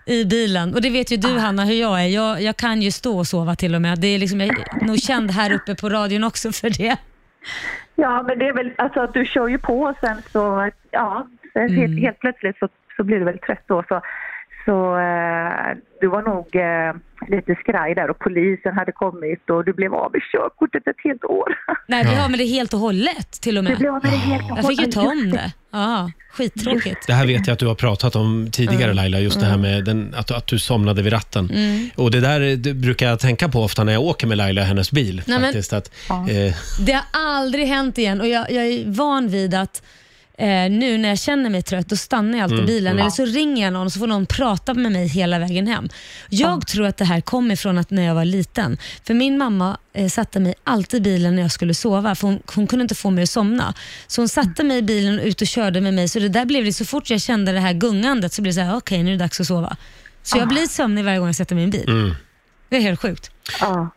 [SPEAKER 3] i bilen. Och det vet ju du Hanna hur jag är. Jag, jag kan ju stå och sova till och med. Det är liksom, jag är nog känd här uppe på radion också för det.
[SPEAKER 5] Ja, men det är väl alltså att du kör ju på och sen så, ja, sen
[SPEAKER 3] Mm.
[SPEAKER 5] helt, helt plötsligt så, så blir du väl trött då. Så, så eh, du var nog eh, lite skraj där och polisen hade kommit och du blev av med körkortet ett helt år.
[SPEAKER 3] Nej, vi
[SPEAKER 2] Ja.
[SPEAKER 3] har med det helt och hållet till och
[SPEAKER 5] Du
[SPEAKER 3] med.
[SPEAKER 5] blev av med det helt och
[SPEAKER 3] Jag fick ju
[SPEAKER 5] hållet.
[SPEAKER 3] ta om det. Ja, skittråkigt.
[SPEAKER 2] Det här vet jag att du har pratat om tidigare
[SPEAKER 3] Mm.
[SPEAKER 2] Laila, just det här med den, att, att du somnade vid ratten. Och det där det brukar jag tänka på ofta när jag åker med Laila i hennes bil.
[SPEAKER 3] Nej, men-
[SPEAKER 2] faktiskt, att, eh,
[SPEAKER 3] Det har aldrig hänt igen och jag, jag är van vid att eh, nu när jag känner mig trött, då stannar jag alltid bilen eller så ringer jag någon och så får någon prata med mig hela vägen hem. Jag tror att det här kommer från att när jag var liten. För min mamma eh, satte mig alltid i bilen när jag skulle sova, för hon, hon kunde inte få mig att somna. Så hon satte mig i bilen och ut och körde med mig, så det där blev det så fort jag kände det här gungandet så blev det så här: okej nu är det dags att sova. Så jag blir sömnig varje gång jag sätter mig i en bil. Det är helt sjukt.
[SPEAKER 5] Ja.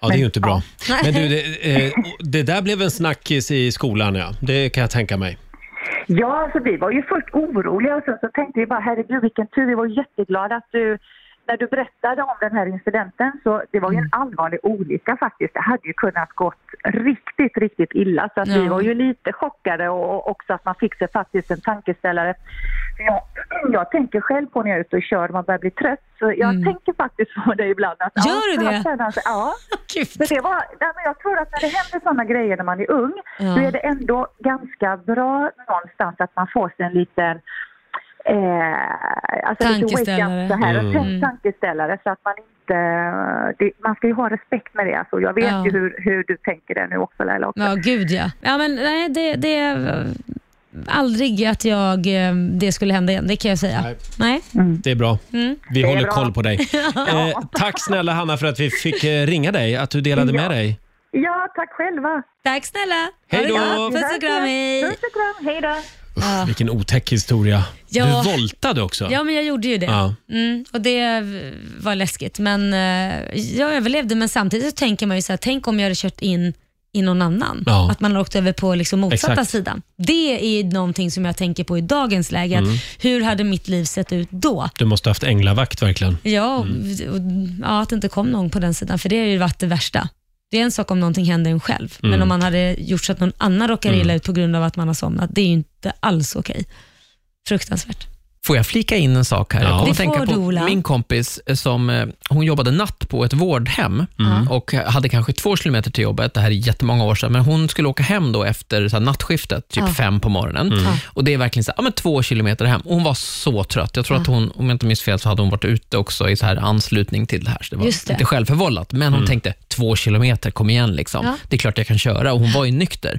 [SPEAKER 2] ja, det är ju inte bra.
[SPEAKER 3] Nej.
[SPEAKER 2] Men du, det, eh, det där blev en snackis i skolan, ja. Det kan jag tänka mig.
[SPEAKER 5] Ja, alltså vi var ju först oroliga och sen så tänkte vi bara herregud vilken tur, vi var jätteglada att du när du berättade om den här incidenten så det var ju
[SPEAKER 3] Mm.
[SPEAKER 5] en allvarlig olycka faktiskt. Det hade ju kunnat gått riktigt, riktigt illa så att vi
[SPEAKER 3] Ja.
[SPEAKER 5] var ju lite chockade och och också att man fick sig faktiskt en tankeställare. Jag, jag tänker själv på när jag är ute och kör och man börjar bli trött så jag tänker faktiskt på det ibland. Att,
[SPEAKER 3] Mm. Gör du
[SPEAKER 5] ja,
[SPEAKER 3] det?
[SPEAKER 5] fasen, alltså, ja.
[SPEAKER 3] Gud.
[SPEAKER 5] Men det var, nej, men jag tror att när det händer sådana grejer när man är ung,
[SPEAKER 3] Ja.
[SPEAKER 5] då är det ändå ganska bra någonstans att man får sig en liten Eh, alltså lite
[SPEAKER 3] Tankeställare.
[SPEAKER 5] wake-up så här, och tänk tankeställare så att man inte... Det, man ska ju ha respekt med det. Alltså. Jag vet
[SPEAKER 3] Ja.
[SPEAKER 5] ju hur, hur du tänker det nu också Laila. Också.
[SPEAKER 3] Ja, gud ja. ja men, nej, det, det är aldrig att jag, eh, det skulle hända igen, det kan jag säga.
[SPEAKER 2] Nej.
[SPEAKER 3] Nej.
[SPEAKER 2] Det är bra.
[SPEAKER 3] Mm.
[SPEAKER 2] Vi håller
[SPEAKER 5] bra.
[SPEAKER 2] koll på dig. Eh, tack snälla Hanna för att vi fick eh, ringa dig, att du delade med dig.
[SPEAKER 5] Ja, tack själva.
[SPEAKER 3] Tack snälla.
[SPEAKER 2] Hej
[SPEAKER 3] Ha det
[SPEAKER 2] då.
[SPEAKER 3] bra. Puss och kram, hej.
[SPEAKER 5] Puss och kram, hej då.
[SPEAKER 3] Ja.
[SPEAKER 2] Vilken otäck historia.
[SPEAKER 3] Ja.
[SPEAKER 2] Du voltade också.
[SPEAKER 3] Ja, men jag gjorde ju det.
[SPEAKER 2] Ja.
[SPEAKER 3] Mm, och Det var läskigt, men eh, jag överlevde. Men samtidigt så tänker man ju så här, tänk om jag hade kört in i någon annan.
[SPEAKER 2] Ja.
[SPEAKER 3] Att man har åkt över på liksom motsatta
[SPEAKER 2] Exakt.
[SPEAKER 3] sidan. Det är någonting som jag tänker på i dagens läge.
[SPEAKER 2] Mm.
[SPEAKER 3] Att hur hade mitt liv sett ut då?
[SPEAKER 2] Du måste ha haft änglavakt verkligen.
[SPEAKER 3] Ja, och,
[SPEAKER 2] Mm.
[SPEAKER 3] och, ja, att det inte kom någon på den sidan, för det har ju varit det värsta. Det är en sak om någonting händer en själv,
[SPEAKER 2] Mm.
[SPEAKER 3] men om man hade gjort så att någon annan råkar illa ut på grund av att man har somnat, det är ju inte alls okej. Fruktansvärt.
[SPEAKER 4] Får jag flika in en sak här?
[SPEAKER 2] Ja.
[SPEAKER 4] Jag kom
[SPEAKER 2] Det
[SPEAKER 4] att tänka
[SPEAKER 3] får
[SPEAKER 4] på
[SPEAKER 3] du, Ola.
[SPEAKER 4] min kompis eh, som eh, hon jobbade natt på ett vårdhem
[SPEAKER 2] Mm.
[SPEAKER 4] och hade kanske två kilometer till jobbet. Det här är jättemånga år sedan, men hon skulle åka hem då efter så här, nattskiftet, typ
[SPEAKER 3] Ja.
[SPEAKER 4] fem på morgonen.
[SPEAKER 2] Mm.
[SPEAKER 3] Ja.
[SPEAKER 4] Och Det är verkligen så här, ja, men två kilometer hem. Och hon var så trött. Jag tror att hon, om jag inte minns fel, så hade hon varit ute också i så här anslutning till det här. Så det var
[SPEAKER 3] Just det.
[SPEAKER 4] lite självförvållat, men
[SPEAKER 2] Mm.
[SPEAKER 4] hon tänkte två kilometer, kom igen. Liksom.
[SPEAKER 3] Ja.
[SPEAKER 4] Det är klart jag kan köra och hon var ju nykter.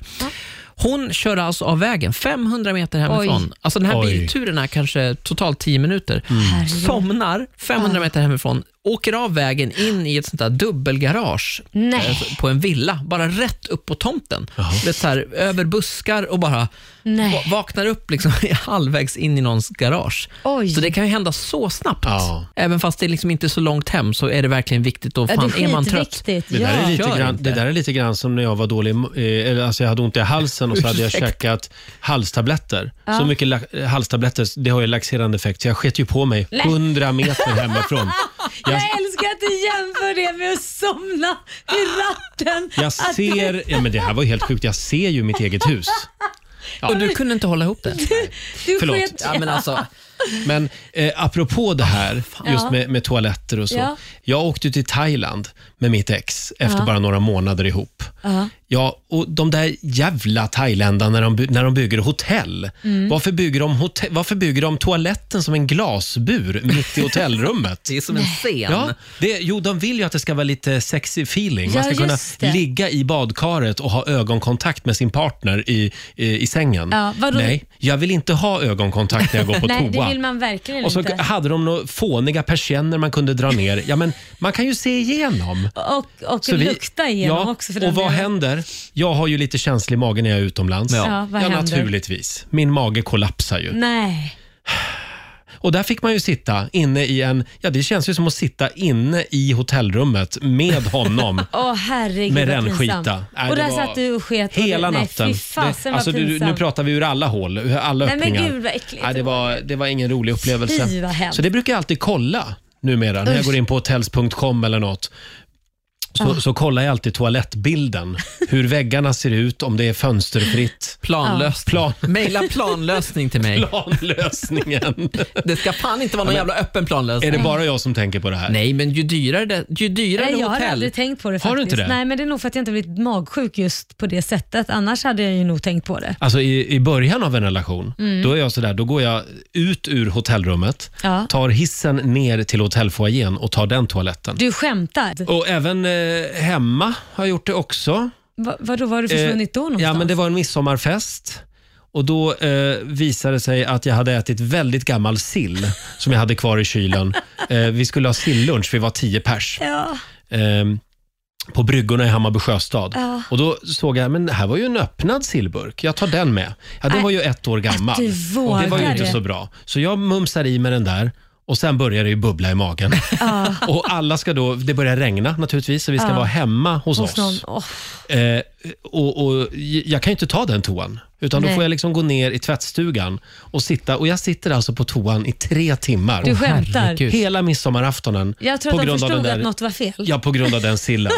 [SPEAKER 4] Hon kör alltså av vägen 500 meter hemifrån. Alltså den här
[SPEAKER 2] Oj.
[SPEAKER 4] bilturen är kanske totalt 10 minuter.
[SPEAKER 3] Herregud. Ah.
[SPEAKER 4] Somnar 500 meter hemifrån, åker av vägen in i ett sånt där dubbelgarage
[SPEAKER 3] Nej.
[SPEAKER 4] eh, på en villa, bara rätt upp på tomten. Det är så här, över buskar och bara
[SPEAKER 3] Nej.
[SPEAKER 4] va- vaknar upp liksom halvvägs in i någons garage.
[SPEAKER 3] Oj.
[SPEAKER 4] Så det kan ju hända så snabbt.
[SPEAKER 2] Ja.
[SPEAKER 4] Även fast det är liksom inte är så långt hem så är det verkligen viktigt. Och
[SPEAKER 3] Ja,
[SPEAKER 4] fan,
[SPEAKER 3] det
[SPEAKER 4] är
[SPEAKER 3] är
[SPEAKER 4] man trött
[SPEAKER 3] skitviktigt.
[SPEAKER 2] Det, där är
[SPEAKER 3] Ja.
[SPEAKER 4] lite-
[SPEAKER 2] lite
[SPEAKER 4] Gör
[SPEAKER 2] grann,
[SPEAKER 4] inte.
[SPEAKER 2] det där är lite grann som när jag var dålig, i- eh, eller alltså jag hade ont i halsen och så hade jag
[SPEAKER 4] Ursäkta.
[SPEAKER 2] käkat halstabletter. Så mycket la- halstabletter, det har ju laxerande effekt, så jag sket ju på mig 100 meter hemifrån.
[SPEAKER 3] Jag
[SPEAKER 2] Jag,
[SPEAKER 3] älskar att du jämför det med att somna vid ratten.
[SPEAKER 2] jag
[SPEAKER 3] Att-
[SPEAKER 2] ser, ja, men det här var ju helt sjukt, jag ser ju mitt eget hus.
[SPEAKER 4] Och du kunde inte hålla ihop det.
[SPEAKER 3] Du
[SPEAKER 2] förlåt.
[SPEAKER 3] sket-
[SPEAKER 4] Ja, men alltså,
[SPEAKER 2] Men eh, apropå det här, just
[SPEAKER 3] Ah, Ja.
[SPEAKER 2] med, med toaletter och så.
[SPEAKER 3] Ja.
[SPEAKER 2] Jag åkte till Thailand med mitt ex efter bara några månader ihop.
[SPEAKER 3] Ja.
[SPEAKER 2] Ja, och de där jävla thailändarna när de, by- när de bygger hotell.
[SPEAKER 3] Mm.
[SPEAKER 2] Varför, bygger de hotell. varför bygger de toaletten som en glasbur mitt i hotellrummet?
[SPEAKER 4] det är som en scen.
[SPEAKER 2] Ja, det, jo, de vill ju att det ska vara lite sexy feeling. Man
[SPEAKER 3] Ja,
[SPEAKER 2] ska kunna
[SPEAKER 3] just det.
[SPEAKER 2] ligga i badkaret och ha ögonkontakt med sin partner i, i, i sängen.
[SPEAKER 3] Ja, vadå?
[SPEAKER 2] Nej, jag vill inte ha ögonkontakt när jag går på
[SPEAKER 3] Nej,
[SPEAKER 2] toa.
[SPEAKER 3] det vill man verkligen
[SPEAKER 2] Och så
[SPEAKER 3] inte.
[SPEAKER 2] hade de några fåniga persienner man kunde dra ner. Ja, men man kan ju se igenom.
[SPEAKER 3] Och, och
[SPEAKER 2] Så vi-
[SPEAKER 3] lukta igenom också för den
[SPEAKER 2] Och vad
[SPEAKER 3] delen.
[SPEAKER 2] händer? Jag har ju lite känslig mage när jag är utomlands.
[SPEAKER 4] Ja.
[SPEAKER 3] Ja, vad händer? Mm.
[SPEAKER 2] naturligtvis. Min mage kollapsar ju.
[SPEAKER 3] Nej.
[SPEAKER 2] Och där fick man ju sitta inne i en... Ja, det känns ju som att sitta inne i hotellrummet med honom.
[SPEAKER 3] Åh herregud
[SPEAKER 2] Med
[SPEAKER 3] vad
[SPEAKER 2] rännskita.
[SPEAKER 3] pinsamt.
[SPEAKER 2] Nej,
[SPEAKER 3] och
[SPEAKER 2] det
[SPEAKER 3] där
[SPEAKER 2] var-
[SPEAKER 3] satt du och sket. och
[SPEAKER 2] Hela
[SPEAKER 3] du,
[SPEAKER 2] natten.
[SPEAKER 3] Nej, fy fasen
[SPEAKER 2] det, alltså,
[SPEAKER 3] vad
[SPEAKER 2] du,
[SPEAKER 3] pinsamt.
[SPEAKER 2] nu pratar vi ur alla håll, ur alla
[SPEAKER 3] Nej, men
[SPEAKER 2] öppningar.
[SPEAKER 3] gud, vad äckligt.
[SPEAKER 2] Nej, det, var, det var ingen rolig upplevelse.
[SPEAKER 3] Fy, vad hemskt.
[SPEAKER 2] Så det brukar jag alltid kolla numera när jag
[SPEAKER 3] Usch. Ah.
[SPEAKER 2] går in på hotels.com eller något. Så, så kollar jag alltid toalettbilden. Hur väggarna ser ut, om det är fönsterfritt.
[SPEAKER 4] Planlöst.
[SPEAKER 2] Plan,
[SPEAKER 4] Maila planlösning till mig.
[SPEAKER 2] planlösningen.
[SPEAKER 4] Det ska fan inte vara någon jävla öppen planlösning.
[SPEAKER 2] är det bara jag som tänker på det här?
[SPEAKER 4] Nej, men ju dyrare, det, ju dyrare
[SPEAKER 3] Nej, jag har
[SPEAKER 4] hotell.
[SPEAKER 3] aldrig tänkt på det faktiskt.
[SPEAKER 2] Har du inte det?
[SPEAKER 3] Nej, men det är nog för att jag inte blivit magsjuk just på det sättet. Annars hade jag ju nog tänkt på det.
[SPEAKER 2] Alltså i, i början av en relation,
[SPEAKER 3] Mm.
[SPEAKER 2] då är jag sådär, då går jag ut ur hotellrummet,
[SPEAKER 3] Ja.
[SPEAKER 2] tar hissen ner till hotellfoajén och tar den toaletten.
[SPEAKER 3] Du skämtar?
[SPEAKER 2] Och även eh, hemma har jag gjort det också.
[SPEAKER 3] Va, vadå, var har du försvunnit då någonstans?
[SPEAKER 2] Eh, Ja, men det var en midsommarfest. Och Då eh, visade det sig att jag hade ätit väldigt gammal sill som jag hade kvar i kylen. Eh, vi skulle ha sillunch, vi var tio pers.
[SPEAKER 3] Ja.
[SPEAKER 2] ehm, på bryggorna i Hammarby sjöstad.
[SPEAKER 3] Ja.
[SPEAKER 2] Och då såg jag, men det här var ju en öppnad sillburk. Jag tar den med. Ja, den
[SPEAKER 3] Nej,
[SPEAKER 2] var ju ett år gammal.
[SPEAKER 3] Äh, du
[SPEAKER 2] och det var ju
[SPEAKER 3] vågade.
[SPEAKER 2] inte så bra. Så jag mumsar i med den där och sen börjar det ju bubbla i magen. och alla ska då, det börjar regna naturligtvis, så vi ska
[SPEAKER 3] Ja.
[SPEAKER 2] vara hemma hos,
[SPEAKER 3] Hos
[SPEAKER 2] oss.
[SPEAKER 3] någon. Åh,
[SPEAKER 2] Eh, och, och Jag kan ju inte ta den toan, utan då
[SPEAKER 3] Nej.
[SPEAKER 2] får jag liksom gå ner i tvättstugan och sitta. Och jag sitter alltså på toan i tre timmar.
[SPEAKER 3] du skämtar?
[SPEAKER 4] herregud.
[SPEAKER 2] Hela midsommaraftonen.
[SPEAKER 3] Jag tror att de
[SPEAKER 2] den
[SPEAKER 3] förstod
[SPEAKER 2] där-
[SPEAKER 3] att något var fel.
[SPEAKER 2] Ja, på grund av den sillen.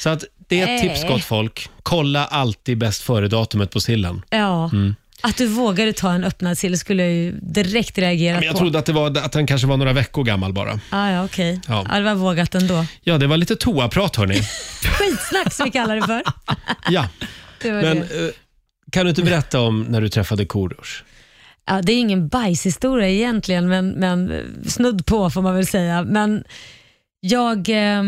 [SPEAKER 2] Så att det är ett
[SPEAKER 3] Nej.
[SPEAKER 2] tips gott folk. Kolla alltid bäst före-datumet på sillen.
[SPEAKER 3] Ja.
[SPEAKER 2] Mm.
[SPEAKER 3] Att du vågade ta en öppnad sill skulle jag ju direkt reagera
[SPEAKER 2] Men jag
[SPEAKER 3] på.
[SPEAKER 2] trodde att, det var, att den kanske var några veckor gammal bara.
[SPEAKER 3] Ah, ja, okej.
[SPEAKER 2] Ja.
[SPEAKER 3] Ja. det var vågat ändå.
[SPEAKER 2] Ja, det var lite toaprat hörni.
[SPEAKER 3] Skitsnack som vi kallar det för.
[SPEAKER 2] Ja.
[SPEAKER 3] Det, var
[SPEAKER 2] Men,
[SPEAKER 3] det.
[SPEAKER 2] eh, kan du inte berätta om när du träffade Korosh?
[SPEAKER 3] Ja, det är ingen bajshistoria egentligen, men, men eh, snudd på får man väl säga. Men jag, eh,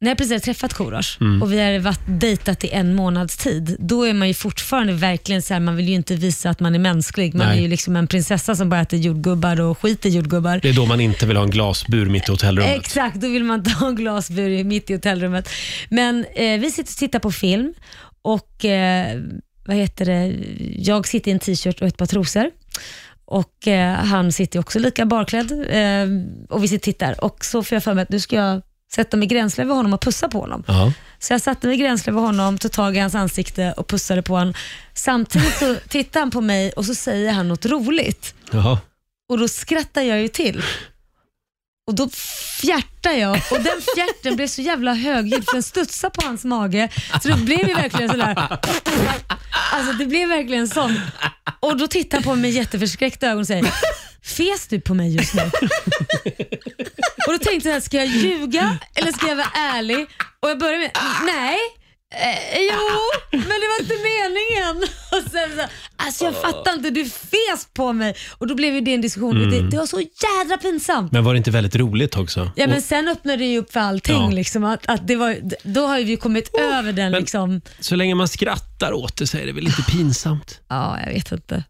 [SPEAKER 3] när jag precis hade träffat Korosh och vi hade varit dejtat i en månads tid, då är man ju fortfarande verkligen så här, man vill ju inte visa att man är mänsklig. Man
[SPEAKER 2] Nej.
[SPEAKER 3] är ju liksom en prinsessa som bara äter jordgubbar och skiter i jordgubbar.
[SPEAKER 2] Det är då man inte vill ha en glasbur mitt i hotellrummet.
[SPEAKER 3] Exakt, då vill man ta en glasbur i- mitt i hotellrummet. Men eh, vi sitter och tittar på film och eh, vad heter det? jag sitter i en t-shirt och ett par trosor. Och eh, han sitter också lika barklädd eh, och vi sitter och tittar. Och så får jag för mig att nu ska jag sätta mig gränsle över honom och pussa på honom.
[SPEAKER 2] Ja.
[SPEAKER 3] Så jag satte mig gränsle över honom, tog tag i hans ansikte och pussade på honom. Samtidigt så tittar han på mig och så säger han något roligt.
[SPEAKER 2] Jaha.
[SPEAKER 3] Och då skrattar jag ju till. Och då fjärtar jag och den fjärten blev så jävla högljudd för den studsade på hans mage. Så det blev ju verkligen sådär. Alltså det blev verkligen sån. Och då tittar han på mig med jätteförskräckta ögon och säger Fes du på mig just nu? och då tänkte jag, ska jag ljuga eller ska jag vara ärlig? Och jag började med, nej. Eh, jo, men det var inte meningen. Och sen så, alltså jag fattar inte, du fes på mig. Och då blev ju det en diskussion.
[SPEAKER 2] Mm.
[SPEAKER 3] Det, det var så jädra pinsamt.
[SPEAKER 2] Men var det inte väldigt roligt också?
[SPEAKER 3] Ja, men
[SPEAKER 2] Och
[SPEAKER 3] sen öppnade det ju upp för allting.
[SPEAKER 2] Ja.
[SPEAKER 3] Liksom, att, att det var, då har ju vi kommit över den.
[SPEAKER 2] men-
[SPEAKER 3] Liksom.
[SPEAKER 2] så länge man skrattar åt det så är det väl inte pinsamt?
[SPEAKER 3] Ja, jag vet inte.